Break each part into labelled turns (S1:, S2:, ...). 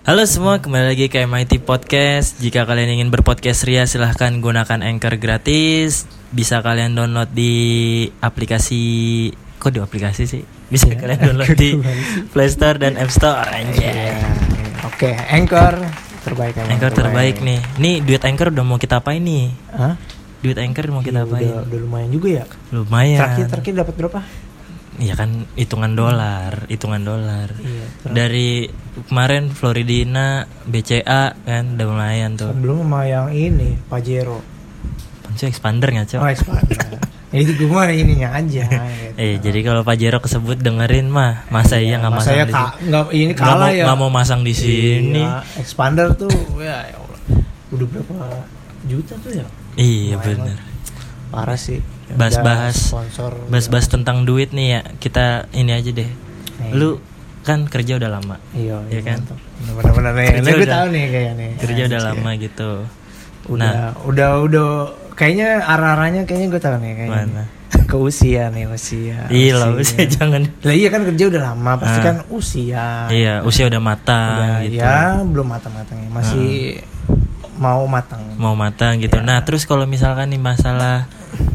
S1: Halo semua, kembali lagi ke MIT Podcast. Jika kalian ingin berpodcast Ria, silahkan gunakan Anchor gratis. Bisa kalian download di aplikasi... Kok di aplikasi sih?
S2: Iya.
S1: Bisa kalian download di Play Store dan App Store. Anjay.
S2: Oke, anchor terbaik emang,
S1: Anchor terbaik nih. Nih duit Anchor udah mau kita apain nih?
S2: Hah?
S1: Duit Anchor mau
S2: Iya,
S1: kita Iya.
S2: udah,
S1: apain?
S2: udah lumayan juga ya. Terakhir
S1: Lumayan.
S2: terakhir dapat berapa?
S1: Iya kan hitungan dolar, hitungan dolar.
S2: Iya.
S1: Dari kemarin Floridina, BCA kan udah lumayan tuh.
S2: Sebelum sama yang ini Pajero.
S1: Pancu expander nggak Cok?
S2: Oh, expander. Jadi gue mah ininya aja. Gitu.
S1: Eh jadi kalau Pajero kesebut dengerin mah, masa iya nggak
S2: Mas
S1: masang
S2: saya
S1: di
S2: ka- nggak ini
S1: Nggak
S2: kalah
S1: mau-
S2: ya.
S1: nggak mau masang di sini.
S2: Iya, expander tuh ya, ya Allah. Udah berapa juta tuh ya?
S1: Iya
S2: Lumayan
S1: bener.
S2: lah. Parah sih. Ya,
S1: Bahas-bahas.
S2: udah sponsor.
S1: Bahas-bahas tentang duit nih ya, kita ini aja deh.
S2: Iya.
S1: Lu kan kerja udah lama.
S2: Iya,
S1: Iya kan?
S2: mantap. Bener-bener nih.
S1: Kerja
S2: Ini gue
S1: udah-
S2: tahu nih kayaknya nih.
S1: Kerja udah
S2: Asik ya.
S1: lama gitu.
S2: Udah, udah, udah. Kayaknya arah-arahnya kayaknya gue tahu nih kayaknya.
S1: Mana?
S2: Ke usia nih usia.
S1: Iya lah, usia jangan.
S2: Lah iya kan kerja udah lama, pasti
S1: Ah.
S2: kan usia.
S1: Iya, usia udah matang
S2: Udah,
S1: gitu. Ah.
S2: Ya belum matang-matangnya, masih mau matang.
S1: Mau matang
S2: Iya.
S1: gitu. Nah, terus kalau misalkan nih masalah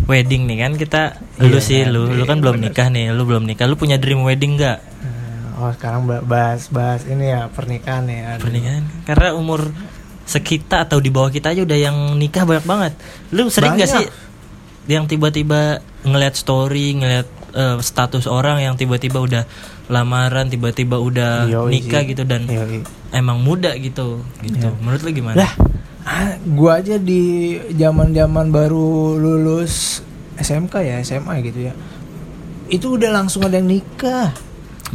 S1: wedding nih kan kita
S2: Iya,
S1: lu sih lu lu kan
S2: iya,
S1: belum
S2: bener.
S1: nikah nih, lu belum nikah. Lu punya dream wedding nggak?
S2: Nah, Oh sekarang ba- bahas-bahas ini ya pernikahan ya. Aduh.
S1: Pernikahan kan? karena umur sekita atau di bawah kita aja udah yang nikah banyak banget. Lu sering nggak
S2: Banyak.
S1: sih yang tiba-tiba ngeliat story, ngeliat eh, status orang yang tiba-tiba udah lamaran, tiba-tiba udah
S2: Yoi
S1: nikah
S2: sih.
S1: gitu dan
S2: Yoi.
S1: emang muda gitu gitu. Menurut lu gimana?
S2: Iya. Lah, ah, gua aja di zaman-zaman baru lulus SMK ya, SMA gitu ya. Itu udah langsung ada yang nikah.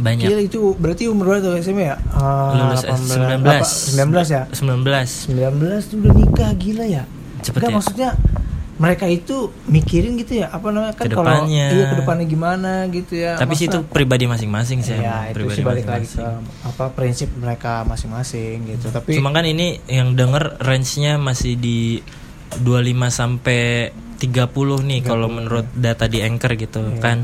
S1: banyak.
S2: Gila itu berarti umur berapa tuh SMA ya? Ah,
S1: Lulus 19.
S2: 19 ya?
S1: 19.
S2: 19 tuh udah nikah gila ya.
S1: Cepet
S2: Nggak,
S1: ya?
S2: maksudnya mereka itu mikirin gitu ya, apa namanya kan kalau
S1: Kedepannya.
S2: iya kedepannya gimana gitu ya.
S1: Tapi sih itu
S2: Maksudnya-
S1: pribadi masing-masing sih. emang,
S2: ya itu
S1: pribadi
S2: sih balik lagi ke
S1: masing-masing.
S2: apa prinsip mereka masing-masing gitu. Tapi
S1: Cuma kan ini yang denger range-nya masih di 25 sampai 30 nih kalau
S2: ya.
S1: menurut data di Anchor gitu
S2: Iya.
S1: kan.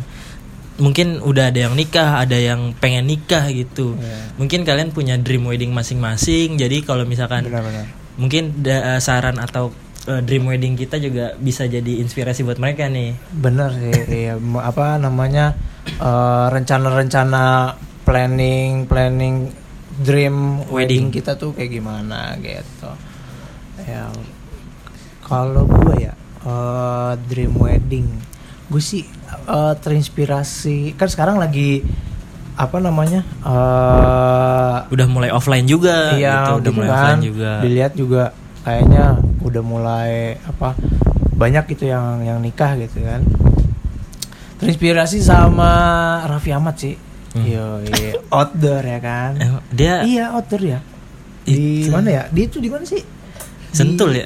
S1: Mungkin udah ada yang nikah, ada yang pengen nikah gitu.
S2: Iya.
S1: Mungkin kalian punya dream wedding masing-masing. Jadi kalau misalkan
S2: benar-benar
S1: mungkin da- saran atau eh, dream wedding kita juga bisa jadi inspirasi buat mereka nih.
S2: Bener sih, iya. M- apa namanya eh, rencana-rencana planning, planning dream
S1: Wedding.
S2: wedding. kita tuh kayak gimana gitu. Ya, kalau gue ya eh, dream wedding, gue sih eh, terinspirasi. Kan sekarang lagi apa namanya? eh
S1: Udah mulai offline juga
S2: Iya,
S1: gitu, udah mulai offline juga.
S2: Dilihat juga kayaknya udah mulai apa banyak gitu yang yang nikah gitu kan. Terinspirasi sama Raffi Ahmad sih. Yo, iya. outdoor ya kan.
S1: Hmm. Eh, Dia
S2: Iya, outdoor ya. Di
S1: Itu.
S2: mana ya? Di itu di mana sih?
S1: sentul ya.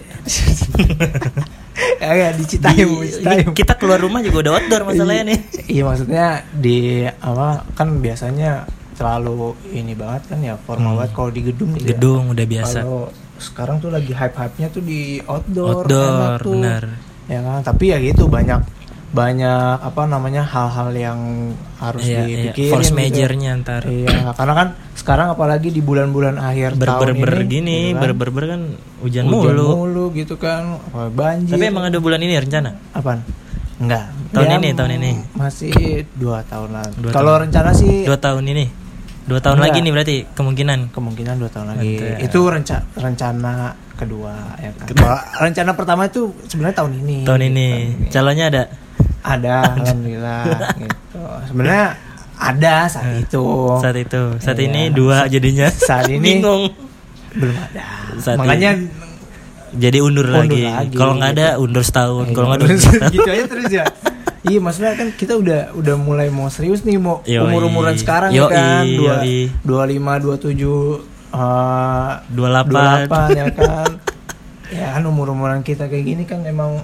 S2: Eh, ya, di Citayam,
S1: Di-
S2: Citayam.
S1: Kita keluar rumah juga udah outdoor masalahnya nih.
S2: Iya maksudnya di apa kan biasanya terlalu ini banget kan ya
S1: Hmm.
S2: formal banget kalau di gedung gitu ya.
S1: Gedung udah biasa.
S2: Kalau sekarang tuh lagi hype-hype-nya tuh di outdoor,
S1: Outdoor,
S2: enak tuh.
S1: benar.
S2: Ya kan, tapi ya gitu banyak banyak apa namanya hal-hal yang harus
S1: Iya, iya.
S2: dipikirin.
S1: Force
S2: gitu.
S1: majornya ntar.
S2: Iya, karena kan sekarang apalagi di bulan-bulan akhir
S1: Ber ber
S2: tahun
S1: ber
S2: ini
S1: gini,
S2: gitu kan,
S1: ber ber ber kan hujan,
S2: hujan
S1: mulu.
S2: mulu gitu kan, apa, banjir.
S1: Tapi emang ada bulan ini ya, rencana.
S2: apaan? Enggak. Ya,
S1: Tahun ini, tahun ini.
S2: Masih dua tahun lagi.
S1: Dua
S2: Kalau
S1: tahun.
S2: rencana sih
S1: Dua tahun ini. Dua tahun
S2: Iya. Enggak.
S1: lagi nih berarti kemungkinan.
S2: kemungkinan dua tahun lagi
S1: Mantap.
S2: itu renca- rencana kedua ya kan Kalau rencana pertama itu sebenarnya tahun ini
S1: Tahun ini calonnya ada.
S2: ada alhamdulillah gitu sebenarnya ada saat itu
S1: Eh, Saat itu, saat
S2: Oh. Iya.
S1: ini dua jadinya.
S2: Saat ini-
S1: bingung.
S2: belum ada
S1: Saat
S2: makanya
S1: Jadi undur,
S2: Undur
S1: lagi.
S2: lagi,
S1: Kalau nggak ada undur setahun. Kalau nggak ada undur setahun.
S2: gitu aja terus ya iya maksudnya kan kita udah udah mulai mau serius nih mau
S1: Yoi.
S2: umur umuran sekarang
S1: Yoi,
S2: ya kan dua
S1: yoi.
S2: dua lima dua tujuh eh,
S1: 28.
S2: 28, ya kan ya kan umur umuran kita kayak gini kan emang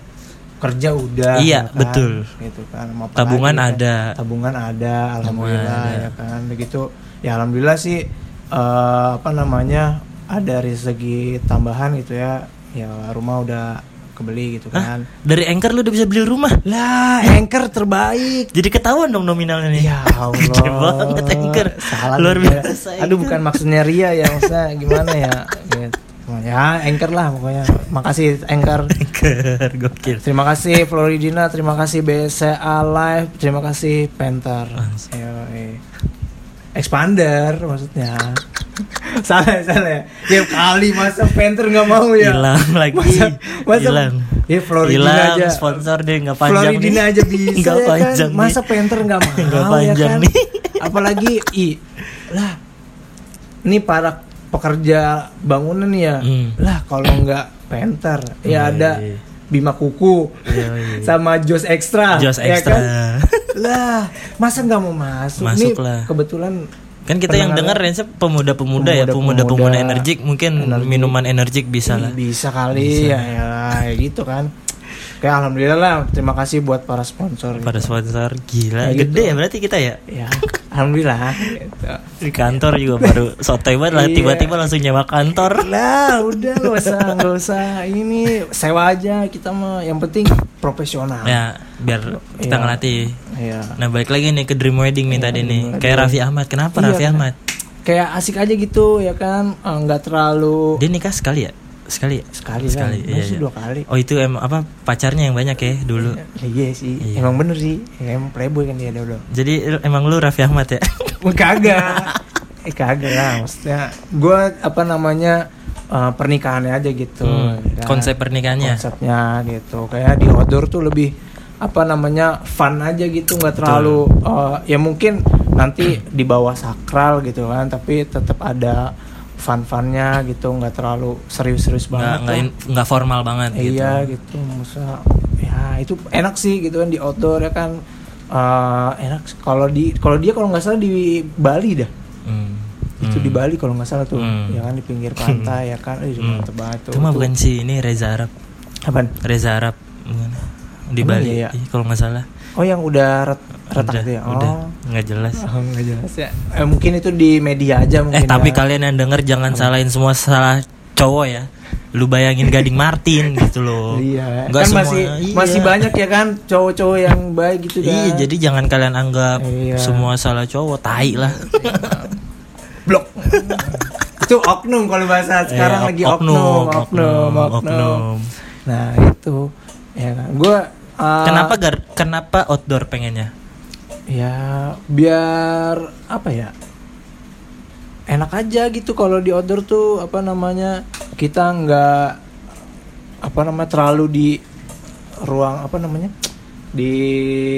S2: kerja udah
S1: Iya,
S2: ya kan?
S1: betul.
S2: gitu kan Mau apa
S1: Tabungan
S2: lagi, kan?
S1: ada.
S2: tabungan ada alhamdulillah
S1: ada.
S2: ya kan begitu ya alhamdulillah sih eh, apa namanya ada rezeki tambahan gitu ya ya rumah udah kebeli gitu
S1: Hah?
S2: kan
S1: Dari Anchor lu udah bisa beli rumah.
S2: lah anchor terbaik
S1: Jadi ketahuan dong nominalnya nih.
S2: Ya Allah
S1: Gede banget Anchor.
S2: Salah
S1: Luar
S2: juga.
S1: biasa.
S2: Aduh
S1: Anchor.
S2: bukan maksudnya Ria ya Maksudnya gimana ya gitu. Ya anchor lah pokoknya Makasih anchor
S1: Anchor gokil.
S2: Terima kasih Floridina Terima kasih BCA Live Terima kasih Panther
S1: Langsung.
S2: Yoi. Expander maksudnya Salah salah ya Ya kali masa Panther nggak mau ya
S1: Hilang lagi.
S2: Masa- masa-
S1: Hilang.
S2: Ya Floridina
S1: Hilang
S2: aja
S1: sponsor deh nggak panjang
S2: Floridina
S1: nih.
S2: aja bisa
S1: Nggak
S2: ya kan?
S1: panjang nih.
S2: Masa Panther nggak mau
S1: Nggak
S2: ya
S1: panjang
S2: kan?
S1: nih.
S2: Apalagi i lah ini para pekerja bangunan nih ya
S1: Hmm.
S2: lah kalau nggak Panther
S1: Iya,
S2: ya ada
S1: iya.
S2: Bima Kuku
S1: Iya, iya.
S2: sama Jos Extra
S1: Jos
S2: ya
S1: Extra.
S2: kan? lah masa nggak mau masuk
S1: Masuk
S2: Nih,
S1: lah.
S2: kebetulan
S1: Kan kita yang dengar Rense
S2: pendengarnya
S1: pemuda-pemuda ya,
S2: Pemuda-pemuda,
S1: pemuda-pemuda energik mungkin
S2: energi.
S1: minuman energik bisa lah.
S2: bisa kali ya, elah, ya gitu kan Oke, alhamdulillah lah. Terima kasih buat para sponsor.
S1: Pada sponsor gila,
S2: Ya gitu.
S1: gede ya berarti kita ya.
S2: ya alhamdulillah gitu.
S1: Di kantor juga baru sotoy banget lah
S2: Iya.
S1: tiba-tiba langsung nyewa kantor.
S2: lah Ah, udah gak usah gak usah ini sewa aja kita mah yang penting profesional
S1: Ya, biar kita
S2: Iya.
S1: ngelatih.
S2: Iya.
S1: Nah, balik lagi nih ke dream wedding nih tadi nih.
S2: wedding.
S1: Kayak Raffi Ahmad. Kenapa
S2: Iya,
S1: Raffi
S2: kan.
S1: Ahmad?
S2: kayak asik aja gitu ya kan Eh, nggak terlalu
S1: Dia nikah sekali ya? Sekali ya?
S2: sekali,
S1: sekali,
S2: kan
S1: iya,
S2: masih
S1: iya.
S2: dua kali
S1: Oh, itu em apa pacarnya yang banyak ya dulu.
S2: iya sih
S1: Iya.
S2: emang bener sih Ya, emang playboy kan dia dulu
S1: Jadi lu- emang lu Raffi Ahmad ya?
S2: Eh, kagak eh kagak lah maksudnya gue apa namanya eh, pernikahannya aja gitu
S1: Hmm,
S2: ya kan.
S1: konsep pernikahannya.
S2: konsepnya gitu kayak di outdoor tuh lebih apa namanya fun aja gitu nggak terlalu eh, ya mungkin nanti di bawah sakral gitu kan tapi tetap ada fun-funnya gitu nggak terlalu
S1: Nggak
S2: serius-serius banget
S1: nggak
S2: lah.
S1: in- nggak formal banget gitu.
S2: iya gitu masa ya itu enak sih gitu kan di outdoor ya kan Eh, enak sih. kalau di kalau dia kalau nggak salah di Bali dah
S1: Hmm.
S2: itu
S1: Hmm.
S2: di Bali kalau nggak salah tuh
S1: Hmm.
S2: ya kan di pinggir pantai ya kan eh,
S1: Hmm.
S2: mantep banget tuh
S1: Itu mah
S2: Tuh.
S1: bukan sih ini Reza Arab.
S2: Apaan?
S1: Reza Arab bukan? di
S2: Emang
S1: Bali
S2: iya ya?
S1: Ih, kalau nggak salah.
S2: Oh yang udah ret- retak
S1: udah,
S2: tuh ya?
S1: udah
S2: Oh.
S1: nggak jelas.
S2: Oh, nggak jelas ya. Eh, mungkin itu di media aja
S1: eh
S2: mungkin.
S1: tapi
S2: ya.
S1: kalian yang denger jangan salahin semua salah cowok ya. Lu bayangin Gading Martin gitu loh.
S2: Iya.
S1: Nggak
S2: kan
S1: semua,
S2: masih
S1: iya.
S2: masih banyak ya kan cowok-cowok yang baik gitu kan.
S1: Iya, jadi jangan kalian anggap
S2: Iya.
S1: semua salah cowok tai lah.
S2: blok. itu oknum kalau bahasa
S1: Eh,
S2: sekarang lagi
S1: ok-
S2: oknum, oknum, oknum,
S1: oknum.
S2: Nah, itu ya kan. Gua eh,
S1: Kenapa gar- kenapa outdoor pengennya?
S2: ya biar apa ya? Enak aja gitu kalau di outdoor tuh apa namanya? Kita nggak apa namanya terlalu di ruang apa namanya? di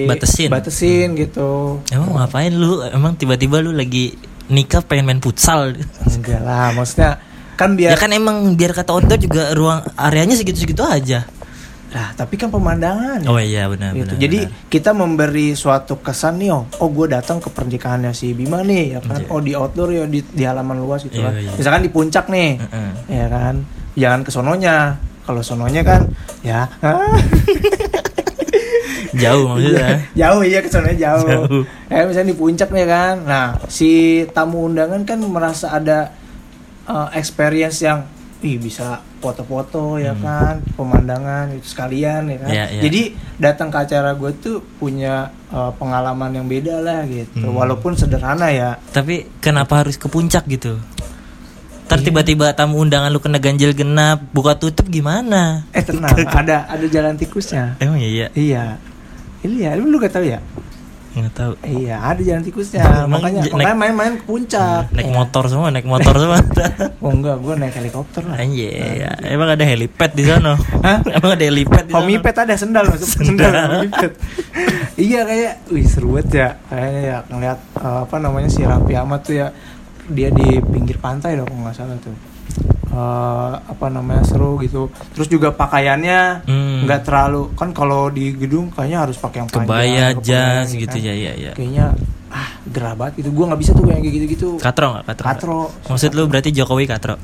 S1: Batesin.
S2: batesin
S1: Hmm.
S2: gitu
S1: Emang ngapain lu? Emang tiba-tiba lu lagi nikah pengen main futsal?
S2: enggak lah maksudnya kan
S1: Ya
S2: biar
S1: kan emang biar kata outdoor juga ruang areanya segitu-segitu aja.
S2: lah tapi kan pemandangan
S1: Oh iya benar
S2: gitu.
S1: benar.
S2: Jadi
S1: benar.
S2: kita memberi suatu kesan nih, oh, oh gue datang ke pernikahannya si Bima nih, ya kan?
S1: Iya.
S2: Oh di outdoor ya di, di halaman luas gitu
S1: Iya,
S2: kan.
S1: iya.
S2: Misalkan di puncak nih,
S1: Heeh.
S2: ya kan? Jangan ke sononya. Kalau sononya kan, ya
S1: jauh maksudnya.
S2: jauh iya ke sononya jauh.
S1: Jauh.
S2: Eh misalnya di puncak nih kan, nah si tamu undangan kan merasa ada eh, experience yang Ih bisa foto-foto ya kan pemandangan itu sekalian ya kan
S1: Hmm. Iya, iya.
S2: jadi datang ke acara gue tuh punya eh, pengalaman yang beda lah gitu
S1: Hmm.
S2: walaupun sederhana ya
S1: Tapi kenapa harus ke puncak gitu?
S2: Iya.
S1: Ntar tiba-tiba tamu undangan lu kena ganjil genap, buka tutup gimana?
S2: eh tenang ada ada jalan tikusnya
S1: Emang iya,
S2: iya iya lu gak tahu ya
S1: nggak tahu.
S2: iya ada jalan tikusnya
S1: Emang
S2: makanya
S1: j-
S2: makanya
S1: naik-
S2: main-main ke puncak
S1: Naik
S2: Ya.
S1: motor semua, naik motor semua.
S2: oh enggak gue naik helikopter lah
S1: Anjir, ya. emang ada helipad di sana?
S2: Hah?
S1: Emang ada helipad di sana?
S2: Homipet ada sendal masuk sendal, homipet. iya kayak wih seru banget ya kayaknya ya ngeliat eh, apa namanya si Raffi Ahmad tuh ya dia di pinggir pantai dong kalau nggak salah tuh Eh, apa namanya seru gitu terus juga pakaiannya
S1: Hmm.
S2: nggak terlalu kan kalau di gedung kayaknya harus pakai yang
S1: Kebaya,
S2: panjang, kepanjang
S1: jas gitu
S2: kan.
S1: ya, ya, ya.
S2: kayaknya ah gerah banget gitu gue nggak bisa tuh kayak gitu gitu
S1: Katro nggak katro? nggak?
S2: katro
S1: Maksud lu berarti Jokowi katro?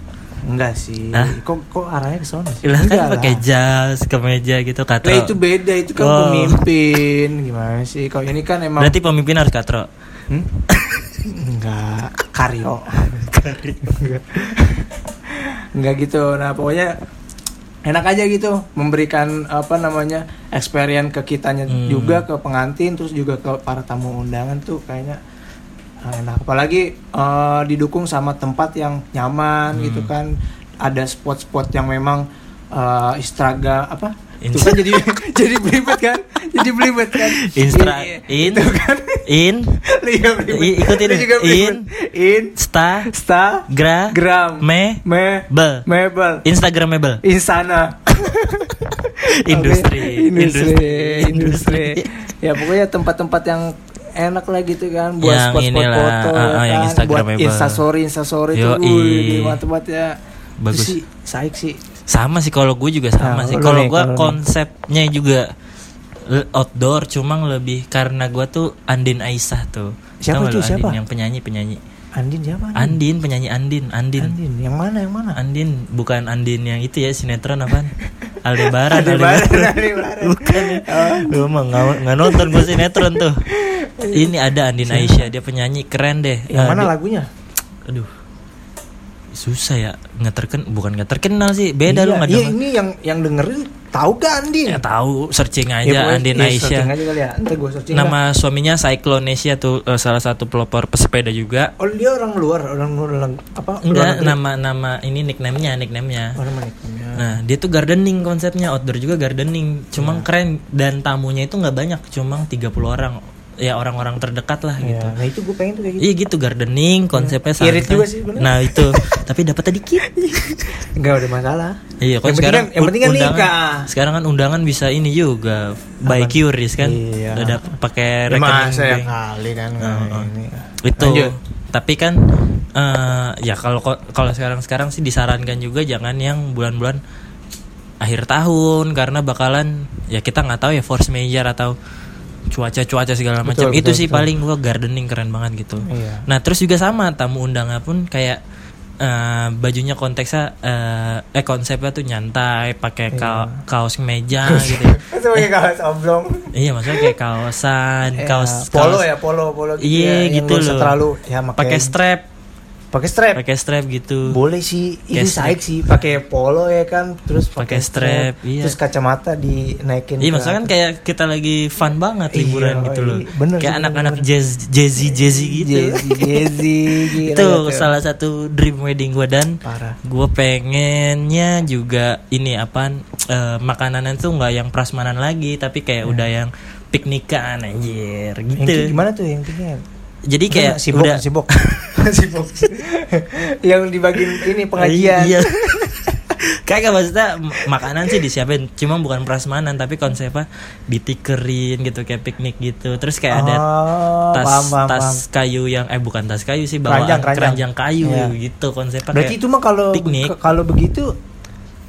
S2: enggak sih
S1: Hah?
S2: kok kok arahnya ke sana sih
S1: Lah
S2: Enggak
S1: kan
S2: lah.
S1: pakai jas, kemeja gitu katro.
S2: Lah itu beda, itu kan
S1: Oh.
S2: pemimpin. Gimana sih? Kalau ini kan emang
S1: Berarti pemimpin harus katro.
S2: Hmm? enggak karyo. enggak gitu. Nah, pokoknya enak aja gitu memberikan apa namanya experience ke kitanya
S1: Hmm.
S2: juga ke pengantin terus juga ke para tamu undangan tuh kayaknya ah, enak apalagi eh, didukung sama tempat yang nyaman
S1: Hmm.
S2: gitu kan ada spot-spot yang memang eh istraga apa itu kan jadi jadi belibet kan jadi belibet kan
S1: Instra
S2: Iya,
S1: in
S2: itu kan
S1: in
S2: Liga belibet.
S1: I- ikutin.
S2: Lu juga belibet. in
S1: sta
S2: sta
S1: gra
S2: gram
S1: me
S2: me
S1: bel
S2: mebel
S1: instagramable
S2: insana
S1: industri
S2: Oke, industri, industri. ya pokoknya tempat-tempat yang enak lah gitu kan buat
S1: Yang
S2: spot-spot
S1: inilah,
S2: foto ya
S1: ah, ah, yang
S2: kan buat
S1: Instagramable.
S2: instastory instastory tuh
S1: Yoi.
S2: wih, di tempat ya
S1: Bagus.
S2: sih saik sih
S1: sama sih kalau gue juga sama
S2: Nah,
S1: sih
S2: lu
S1: kalau
S2: nih,
S1: gue
S2: kalau lu.
S1: konsepnya juga l- outdoor cuma lebih karena gue tuh Andin Aisyah tuh Tau
S2: Siapa
S1: gak
S2: tuh,
S1: lu Andin
S2: siapa?
S1: yang penyanyi penyanyi
S2: Andin siapa Andin?
S1: Andin penyanyi Andin Andin
S2: Andin yang mana yang mana
S1: Andin bukan Andin yang itu ya sinetron apaan Aldebaran
S2: Aldebaran, Aldebaran.
S1: bukan lu mah nggak nggak nonton gue sinetron tuh ini ada Andin Aisyah dia penyanyi keren deh
S2: Iya. yang
S1: Nah,
S2: mana
S1: dia-
S2: lagunya
S1: aduh susah ya nggak terken bukan nggak terkenal sih beda
S2: Iya,
S1: lu nggak
S2: iya,
S1: denger.
S2: ini yang yang dengerin tahu gak Andin
S1: ya tahu searching aja
S2: Ya, pokoknya-
S1: Andin
S2: ya,
S1: Aisyah
S2: searching aja kali ya ntar gue searching lah.
S1: nama suaminya Cyclonesia tuh eh, salah satu pelopor pesepeda juga
S2: oh dia orang luar orang luar Oh, orang apa
S1: enggak nama nama ini nicknamenya nicknamenya
S2: orang Iya, menikahnya
S1: Nah, dia tuh gardening konsepnya, outdoor juga gardening. Cuma
S2: Iya.
S1: keren dan tamunya itu nggak banyak, cuma 30 orang. Ya orang-orang terdekat lah gitu.
S2: Ya, nah itu gue pengen tuh kayak gitu
S1: Iya gitu gardening konsepnya santai.
S2: Irit juga sih, bener.
S1: Nah, itu. Tapi dapatnya dikit.
S2: nggak ada masalah
S1: Iya, kalau
S2: Yang penting
S1: sekarang
S2: kan- yang penting kan
S1: undangan-
S2: nikah.
S1: Sekarang kan undangan bisa ini juga by curious kan.
S2: Iya.
S1: Udah dap- pakai
S2: Ya,
S1: rekening.
S2: masa yang
S1: bank.
S2: kali kan
S1: Heeh.
S2: ini.
S1: itu
S2: Lanjut.
S1: tapi kan eh, ya kalau kalau sekarang sekarang sih disarankan juga jangan yang bulan-bulan akhir tahun karena bakalan ya kita nggak tahu ya force major atau cuaca-cuaca segala macam itu
S2: betul,
S1: sih
S2: betul.
S1: paling gua gardening keren banget gitu
S2: Iya.
S1: nah terus juga sama tamu undangan pun kayak eh, bajunya konteksnya eh, eh konsepnya tuh nyantai pakai
S2: Iya.
S1: ka- kaos meja gitu ya.
S2: Itu pakai kaos oblong.
S1: iya maksudnya kayak kaosan
S2: Ya,
S1: kaos
S2: polo
S1: kaos-
S2: ya, polo, polo
S1: Iya,
S2: ya, yang
S1: gitu
S2: nggak usah
S1: loh.
S2: Terlalu ya
S1: pakai strap
S2: pakai strap.
S1: pakai strap gitu
S2: Boleh sih,
S1: Pakai
S2: ini
S1: strap.
S2: saik sih pakai polo ya kan, terus
S1: Pakai strap, iya.
S2: Terus kacamata dinaikin.
S1: Iya
S2: ke
S1: maksudnya kan
S2: atas.
S1: kayak kita lagi fun banget
S2: Iya,
S1: liburan gitu
S2: iya.
S1: loh.
S2: Bener sih,
S1: kayak
S2: bener,
S1: anak-anak
S2: bener.
S1: jazz jazzy jazzy gitu.
S2: Jezi, jezi, gila
S1: itu
S2: gitu.
S1: salah satu dream wedding gue dan
S2: parah.
S1: gue pengennya juga ini apaan eh, makanan tuh nggak yang prasmanan lagi tapi kayak udah yang piknikan anjir
S2: Iya. Yang kayak
S1: gitu.
S2: gimana tuh yang tinggi?
S1: Jadi kayak
S2: sibuk,
S1: udah
S2: sibuk, sibuk. yang dibagiin ini pengajian.
S1: Iya. Kagak maksudnya m- makanan sih disiapin, cuma bukan prasmanan tapi konsepnya ditikerin gitu kayak piknik gitu. Terus kayak ada
S2: Oh,
S1: tas
S2: paham, paham,
S1: tas
S2: paham.
S1: kayu yang eh bukan tas kayu sih bawaan keranjang,
S2: Keranjang, keranjang.
S1: kayu
S2: Iya.
S1: gitu konsepnya.
S2: Berarti
S1: kayak-
S2: itu mah kalau
S1: piknik.
S2: ke- kalau begitu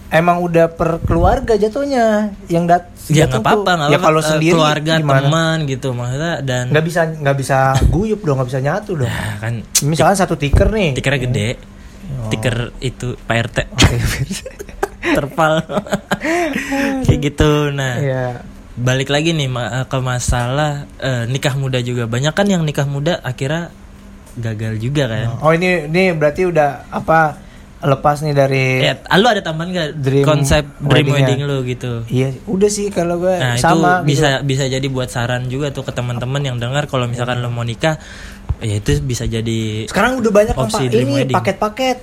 S2: emang udah per keluarga jatuhnya yang dat
S1: ya nggak
S2: datang tuh.
S1: apa-apa, nggak
S2: ya
S1: apa-apa.
S2: kalau
S1: Eh,
S2: sendiri
S1: keluarga
S2: gimana?
S1: teman gitu maksudnya dan
S2: nggak bisa nggak bisa guyup dong nggak bisa nyatu dong
S1: Ah, kan
S2: misalkan satu tiker nih
S1: tikernya gede.
S2: Oh.
S1: Tiker itu Pak RT
S2: iya,
S1: terpal kayak gitu nah
S2: Iya.
S1: balik lagi nih ma- eh, ke masalah eh, nikah muda juga banyak kan yang nikah muda akhirnya gagal juga kan
S2: oh ini ini berarti udah apa lepas nih dari
S1: ya lu ada tambahan gak
S2: Dream
S1: konsep dream wedding
S2: wedding-nya.
S1: lu gitu
S2: iya udah sih kalau gue
S1: nah
S2: Eh, sama gitu.
S1: itu bisa bisa jadi buat saran juga tuh ke teman-teman yang dengar kalau misalkan lu mau nikah ya itu bisa jadi
S2: gitu. sekarang udah banyak kan,
S1: Opsi
S2: Pak.
S1: dream
S2: ini
S1: wedding.
S2: paket-paket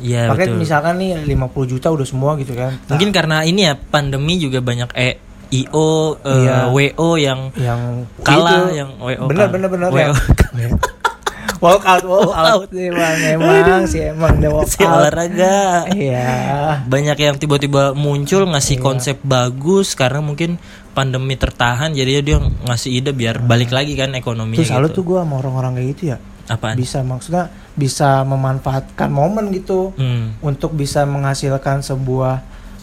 S1: ya
S2: paket
S1: betul
S2: misalkan nih 50 juta udah semua gitu kan
S1: mungkin karena ini ya pandemi juga banyak e io eh,
S2: Iya.
S1: wo yang
S2: yang
S1: Kalah,
S2: itu.
S1: yang WO
S2: bener
S1: kalah.
S2: bener bener ya.
S1: WO
S2: yang- walk out walk out emang emang si emang udah walk
S1: si
S2: out
S1: olahraga
S2: iya
S1: banyak yang tiba-tiba muncul ngasih konsep bagus karena mungkin pandemi tertahan jadinya dia ngasih ide biar balik lagi kan ekonominya
S2: terus selalu
S1: gitu.
S2: tuh gue sama orang-orang kayak gitu ya
S1: apaan
S2: bisa maksudnya bisa memanfaatkan momen gitu
S1: Hmm.
S2: untuk bisa menghasilkan sebuah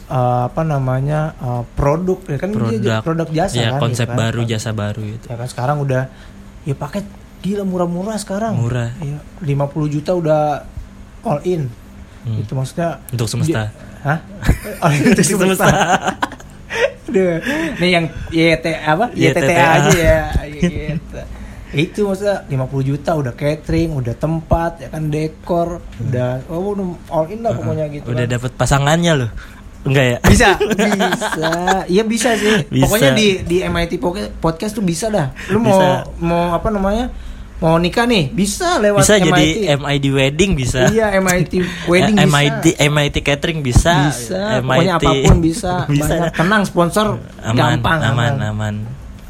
S2: eh, apa namanya eh, produk ya kan dia
S1: produk
S2: produk jasa
S1: ya
S2: kan
S1: konsep
S2: gitu kan.
S1: baru jasa baru gitu
S2: ya kan sekarang udah ya paket gila murah-murah sekarang
S1: murah
S2: Iya, 50 juta udah all in
S1: Hmm.
S2: itu maksudnya
S1: untuk semesta
S2: Hah? Oh, itu sih
S1: Semesta.
S2: besar. Aduh. Nih yang YT apa?
S1: YTTA.
S2: YTTA aja ya. Gitu. Itu maksudnya 50 juta udah catering, udah tempat, ya kan dekor, udah oh, udah all in lah pokoknya gitu.
S1: Hmm. udah
S2: kan.
S1: dapet pasangannya loh Enggak ya?
S2: bisa bisa iya bisa sih
S1: Bisa.
S2: pokoknya di di MIT Poke- podcast tuh bisa dah lu mau
S1: Bisa.
S2: mau apa namanya mau nikah nih bisa lewat
S1: Bisa
S2: MIT
S1: jadi MIT wedding bisa.
S2: iya MIT wedding
S1: Eh,
S2: bisa
S1: MIT MIT catering bisa.
S2: bisa pokoknya apapun bisa,
S1: bisa.
S2: Banyak. tenang sponsor
S1: Aman,
S2: gampang
S1: aman, aman.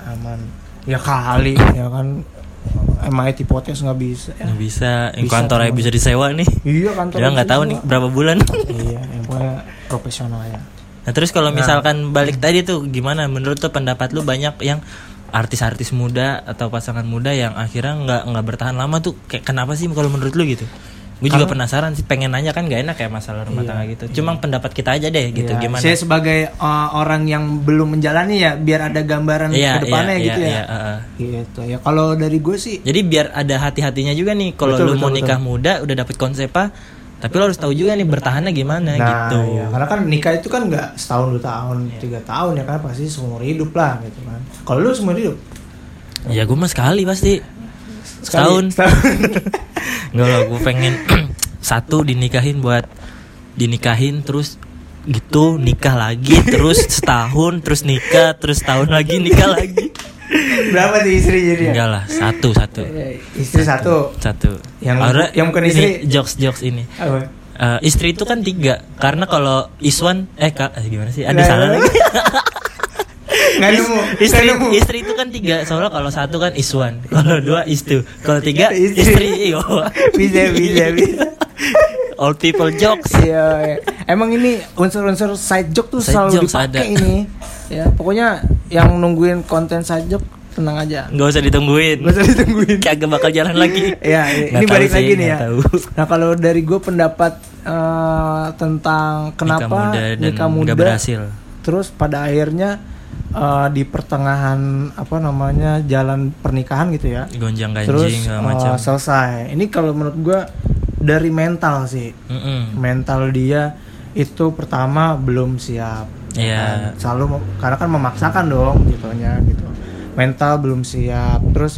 S2: aman ya kali ya kan MIT podcast nggak bisa ya.
S1: Nggak bisa,
S2: Bisa,
S1: kantor aja
S2: teman.
S1: bisa disewa nih.
S2: iya kantor
S1: Ya nggak tahu nih berapa bulan.
S2: iya yang pokoknya profesional ya
S1: Nah terus kalau misalkan balik tadi tuh gimana? Menurut tuh pendapat lu banyak yang artis-artis muda atau pasangan muda yang akhirnya nggak nggak bertahan lama tuh kayak kenapa sih kalau menurut lu gitu? Gue juga penasaran sih pengen nanya kan gak enak ya masalah rumah
S2: Iya,
S1: tangga gitu. Cuma pendapat kita aja deh gitu
S2: Ya,
S1: gimana?
S2: Saya sebagai uh, orang yang belum menjalani ya biar ada gambaran
S1: Iya,
S2: ke depannya
S1: iya,
S2: gitu
S1: iya,
S2: ya.
S1: iya, heeh.
S2: Gitu ya. Kalau dari gue sih
S1: Jadi biar ada hati-hatinya juga nih kalau lu
S2: Betul, betul,
S1: mau
S2: betul.
S1: nikah muda udah dapet konsep apa, tapi lo harus tahu juga nih bertahannya gimana
S2: Nah,
S1: gitu. Iya.
S2: ya, karena kan nikah itu kan nggak setahun dua tahun tiga tahun ya kan pasti seumur hidup lah gitu kan. Kalau lu seumur hidup
S1: Ya gue mah sekali pasti.
S2: sekali-
S1: Setahun.
S2: setahun.
S1: Enggak lah gue pengen satu dinikahin buat dinikahin terus gitu nikah lagi terus setahun terus nikah terus tahun lagi nikah lagi.
S2: Berapa sih istri jadi? ya?
S1: Enggak lah satu satu
S2: Eh, Istri satu.
S1: satu.
S2: Yang-
S1: Aura,
S2: yang bukan
S1: ini
S2: istri.
S1: jokes jokes ini.
S2: Apa?
S1: Eh, istri itu kan tiga karena kalau Iswan eh kak eh, gimana sih ada
S2: Nah,
S1: salah lagi
S2: Nggak nemu. nggak
S1: istri
S2: nemu.
S1: istri itu kan tiga soalnya kalau satu kan iswan kalau dua istu kalau tiga istri
S2: Istri.
S1: yo
S2: Bisa bisa bisa.
S1: all people jokes
S2: Iya, iya. emang ini unsur-unsur side joke tuh
S1: Side
S2: selalu
S1: jokes ada.
S2: dipakai ini. Ya, pokoknya yang nungguin konten side joke tenang aja.
S1: nggak usah ditungguin
S2: Gak usah ditungguin.
S1: kagak bakal jalan lagi
S2: ya,
S1: Nggak
S2: ini
S1: tahu
S2: balik
S1: sih,
S2: lagi nih ya.
S1: nggak tahu.
S2: Nah, kalau dari gue pendapat eh, tentang
S1: nikah
S2: kenapa
S1: muda dan
S2: nikah muda,
S1: nggak berhasil
S2: terus pada akhirnya eh, di pertengahan apa namanya jalan pernikahan gitu ya.
S1: gonjang
S2: terus
S1: ganjing segala
S2: eh,
S1: macam
S2: selesai. Ini kalau menurut gue dari mental sih.
S1: Mm-mm.
S2: mental dia itu pertama belum siap
S1: Iya.
S2: ya kan? selalu mem- karena kan memaksakan dong jatuhnya gitu mental belum siap terus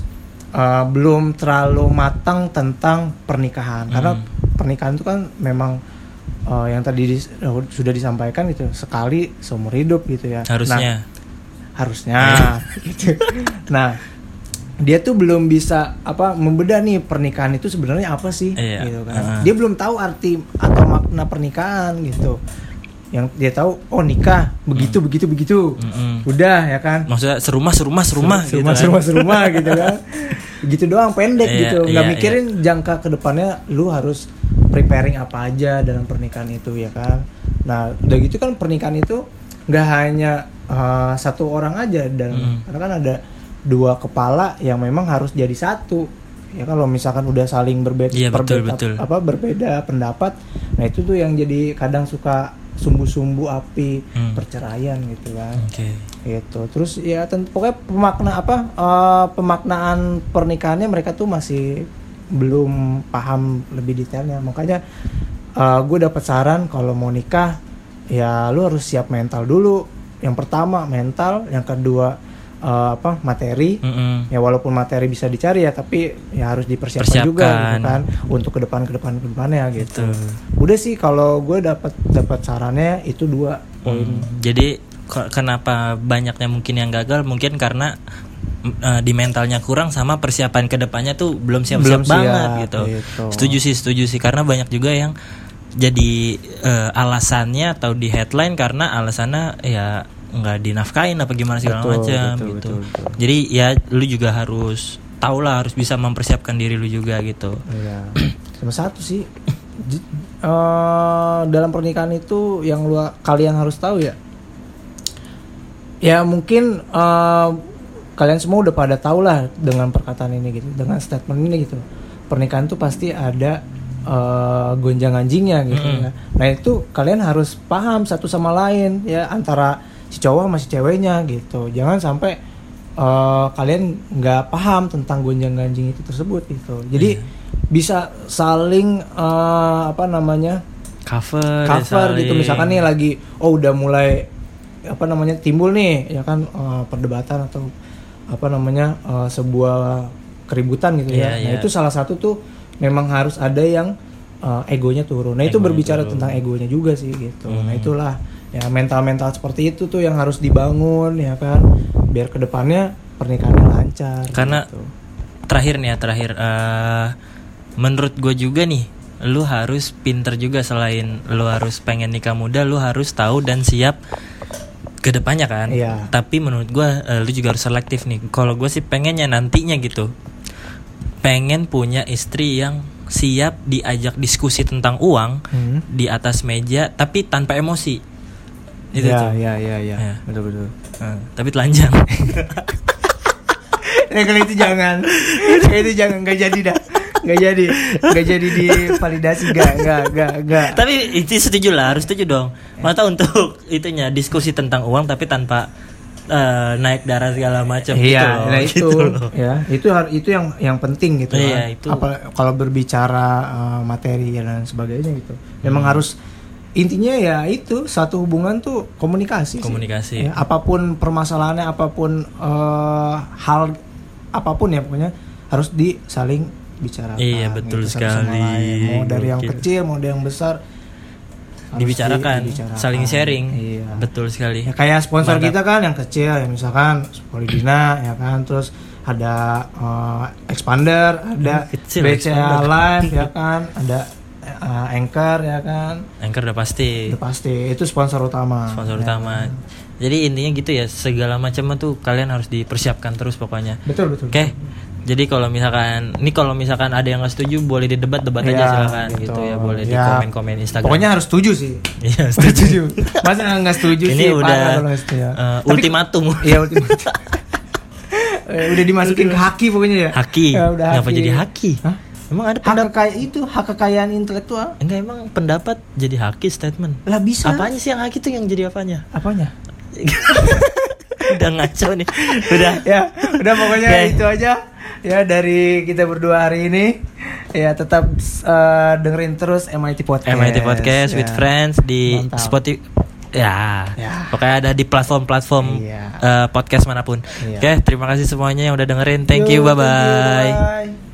S2: eh, belum terlalu matang tentang pernikahan karena
S1: Hmm.
S2: pernikahan itu kan memang eh, yang tadi dis- eh, sudah disampaikan gitu sekali seumur hidup gitu ya Nah,
S1: harusnya
S2: harusnya gitu. nah dia tuh belum bisa apa membedah nih pernikahan itu sebenarnya apa sih
S1: Iya,
S2: gitu kan
S1: heeh.
S2: dia belum tahu arti atau makna pernikahan gitu yang dia tahu oh nikah
S1: Hmm.
S2: begitu begitu begitu
S1: Mm-mm.
S2: udah ya kan
S1: maksudnya serumah serumah serumah gitu
S2: Nah.
S1: kan.
S2: serumah serumah serumah gitu kan gitu doang pendek
S1: Iya,
S2: gitu nggak
S1: iya,
S2: mikirin jangka kedepannya lu harus preparing apa aja dalam pernikahan itu ya kan nah udah gitu kan pernikahan itu nggak hanya uh, satu orang aja dan
S1: Mm.
S2: karena kan ada dua kepala yang memang harus jadi satu ya kan, kalau misalkan udah saling berbeda
S1: Iya, betul,
S2: perbeda-
S1: betul.
S2: apa berbeda pendapat nah itu tuh yang jadi kadang suka sumbu-sumbu api
S1: Mm.
S2: perceraian gitu kan
S1: oke
S2: gitu terus ya tentu pokoknya pemakna apa eh, pemaknaan pernikahannya mereka tuh masih belum paham lebih detailnya makanya gue dapat saran kalau mau nikah ya lu harus siap mental dulu yang pertama mental yang kedua eh, apa materi
S1: Mm-mm.
S2: ya walaupun materi bisa dicari ya tapi ya harus dipersiapkan
S1: Persiapkan.
S2: juga gitu kan untuk ke depan ke depan ke depannya gitu
S1: Tuh.
S2: udah sih kalau gue dapat dapat sarannya itu dua poin
S1: Hmm, Jadi ke- kenapa banyaknya mungkin yang gagal mungkin karena mm, eh, di mentalnya kurang sama persiapan kedepannya tuh belum siap-siap
S2: Belum siap,
S1: banget gitu.
S2: gitu.
S1: Setuju sih, setuju sih karena banyak juga yang jadi eh, alasannya atau di headline karena alasannya ya nggak dinafkain apa gimana segala
S2: Betul,
S1: macam
S2: betul,
S1: gitu.
S2: betul, betul.
S1: Jadi ya lu juga harus tahu lah harus bisa mempersiapkan diri lu juga gitu.
S2: Iya. Sama satu sih. J- eh, dalam pernikahan itu yang lu kalian harus tahu ya. Ya mungkin eh, kalian semua udah pada tahu lah dengan perkataan ini gitu, dengan statement ini gitu. Pernikahan tuh pasti ada eh, gonjang-ganjingnya gitu ya. Nah, itu kalian harus paham satu sama lain ya antara si cowok sama si ceweknya gitu. Jangan sampai eh, kalian nggak paham tentang gonjang-ganjing itu tersebut gitu. Jadi bisa saling eh, apa namanya
S1: Cover, ya,
S2: cover gitu
S1: saling.
S2: misalkan nih lagi oh udah mulai apa namanya timbul nih ya kan eh, perdebatan atau apa namanya eh, sebuah keributan gitu
S1: Iya,
S2: ya nah
S1: iya.
S2: itu salah satu tuh memang harus ada yang eh, egonya turun nah itu
S1: Egonya
S2: berbicara
S1: turun. Hmm.
S2: tentang egonya juga sih gitu nah itulah ya mental-mental seperti itu tuh yang harus dibangun ya kan biar kedepannya pernikahannya lancar
S1: Karena-
S2: gitu.
S1: terakhir nih ya terakhir eh, menurut gue juga nih lu harus pinter juga selain lu harus pengen nikah muda lu harus tahu dan siap ke depannya kan
S2: Iya.
S1: tapi menurut gue eh, lu juga harus selektif nih kalau gue sih pengennya nantinya gitu pengen punya istri yang siap diajak diskusi tentang uang
S2: Hmm.
S1: di atas meja tapi tanpa emosi itu
S2: ya,
S1: tuh
S2: ya ya ya
S1: Ya.
S2: betul betul
S1: Eh, tapi telanjang
S2: ya kalau itu jangan Kalau itu jangan nggak jadi dah nggak jadi nggak jadi divalidasi nggak nggak nggak nggak
S1: tapi itu setuju lah harus setuju dong mata untuk itunya diskusi tentang uang tapi tanpa eh, naik darah segala macam gitu
S2: Iya,
S1: loh
S2: nah itu,
S1: gitu loh.
S2: ya itu har- itu yang yang penting gitu.
S1: Iya,
S2: kan.
S1: itu.
S2: Apa- kalau berbicara uh, materi dan sebagainya gitu, memang
S1: Hmm.
S2: harus intinya ya itu satu hubungan tuh komunikasi. sih.
S1: Komunikasi.
S2: Ya, apapun permasalahannya, apapun uh, hal apapun ya pokoknya harus di saling bicarakan.
S1: Iya, betul
S2: gitu, satu
S1: sekali.
S2: sama lain. Mau dari yang
S1: Gokil.
S2: kecil, mau dari yang besar. harus
S1: dibicarakan,
S2: di- dibicarakan.
S1: saling sharing
S2: Iya.
S1: betul sekali
S2: Ya, kayak sponsor
S1: Mantap.
S2: kita kan yang kecil ya misalkan Polidina ya kan terus ada eh, expander
S1: Hmm,
S2: ada
S1: kecil,
S2: BCA
S1: Expander.
S2: Live ya kan ada eh, anchor ya kan
S1: anchor udah pasti
S2: udah pasti itu sponsor utama
S1: sponsor
S2: Ya
S1: utama
S2: kan.
S1: jadi intinya gitu ya segala macam tuh kalian harus dipersiapkan terus pokoknya
S2: betul betul
S1: oke jadi kalau misalkan ini kalau misalkan ada yang nggak setuju boleh didebat debat aja
S2: Ya,
S1: silakan gitu. ya boleh di komen komen Instagram
S2: pokoknya harus setuju sih
S1: Iya,
S2: setuju masa nggak setuju
S1: ini
S2: sih
S1: udah
S2: parah kalau nggak setuju. ya.
S1: eh,
S2: Tapi-
S1: ultimatum
S2: Iya ultimatum. Eh, udah dimasukin ke haki pokoknya ya.
S1: haki
S2: Ya, udah
S1: kenapa jadi haki
S2: Hah?
S1: emang ada
S2: Hak
S1: pendapat
S2: kekayaan itu hak kekayaan intelektual.
S1: enggak emang pendapat jadi haki statement
S2: Lah bisa.
S1: apanya sih yang haki tuh yang jadi apanya
S2: Apanya?
S1: udah ngaco nih udah
S2: Ya, udah pokoknya
S1: Oke.
S2: itu aja ya dari kita berdua hari ini. Ya tetap eh, dengerin terus MIT Podcast.
S1: MIT Eh, Podcast with
S2: Ya.
S1: Friends di
S2: Mantap.
S1: Spotify ya,
S2: Ya.
S1: pokoknya ada di platform-platform
S2: Iya.
S1: eh, podcast manapun
S2: Iya.
S1: oke terima kasih semuanya yang udah dengerin thank you
S2: Yo,
S1: bye bye
S2: bye-bye.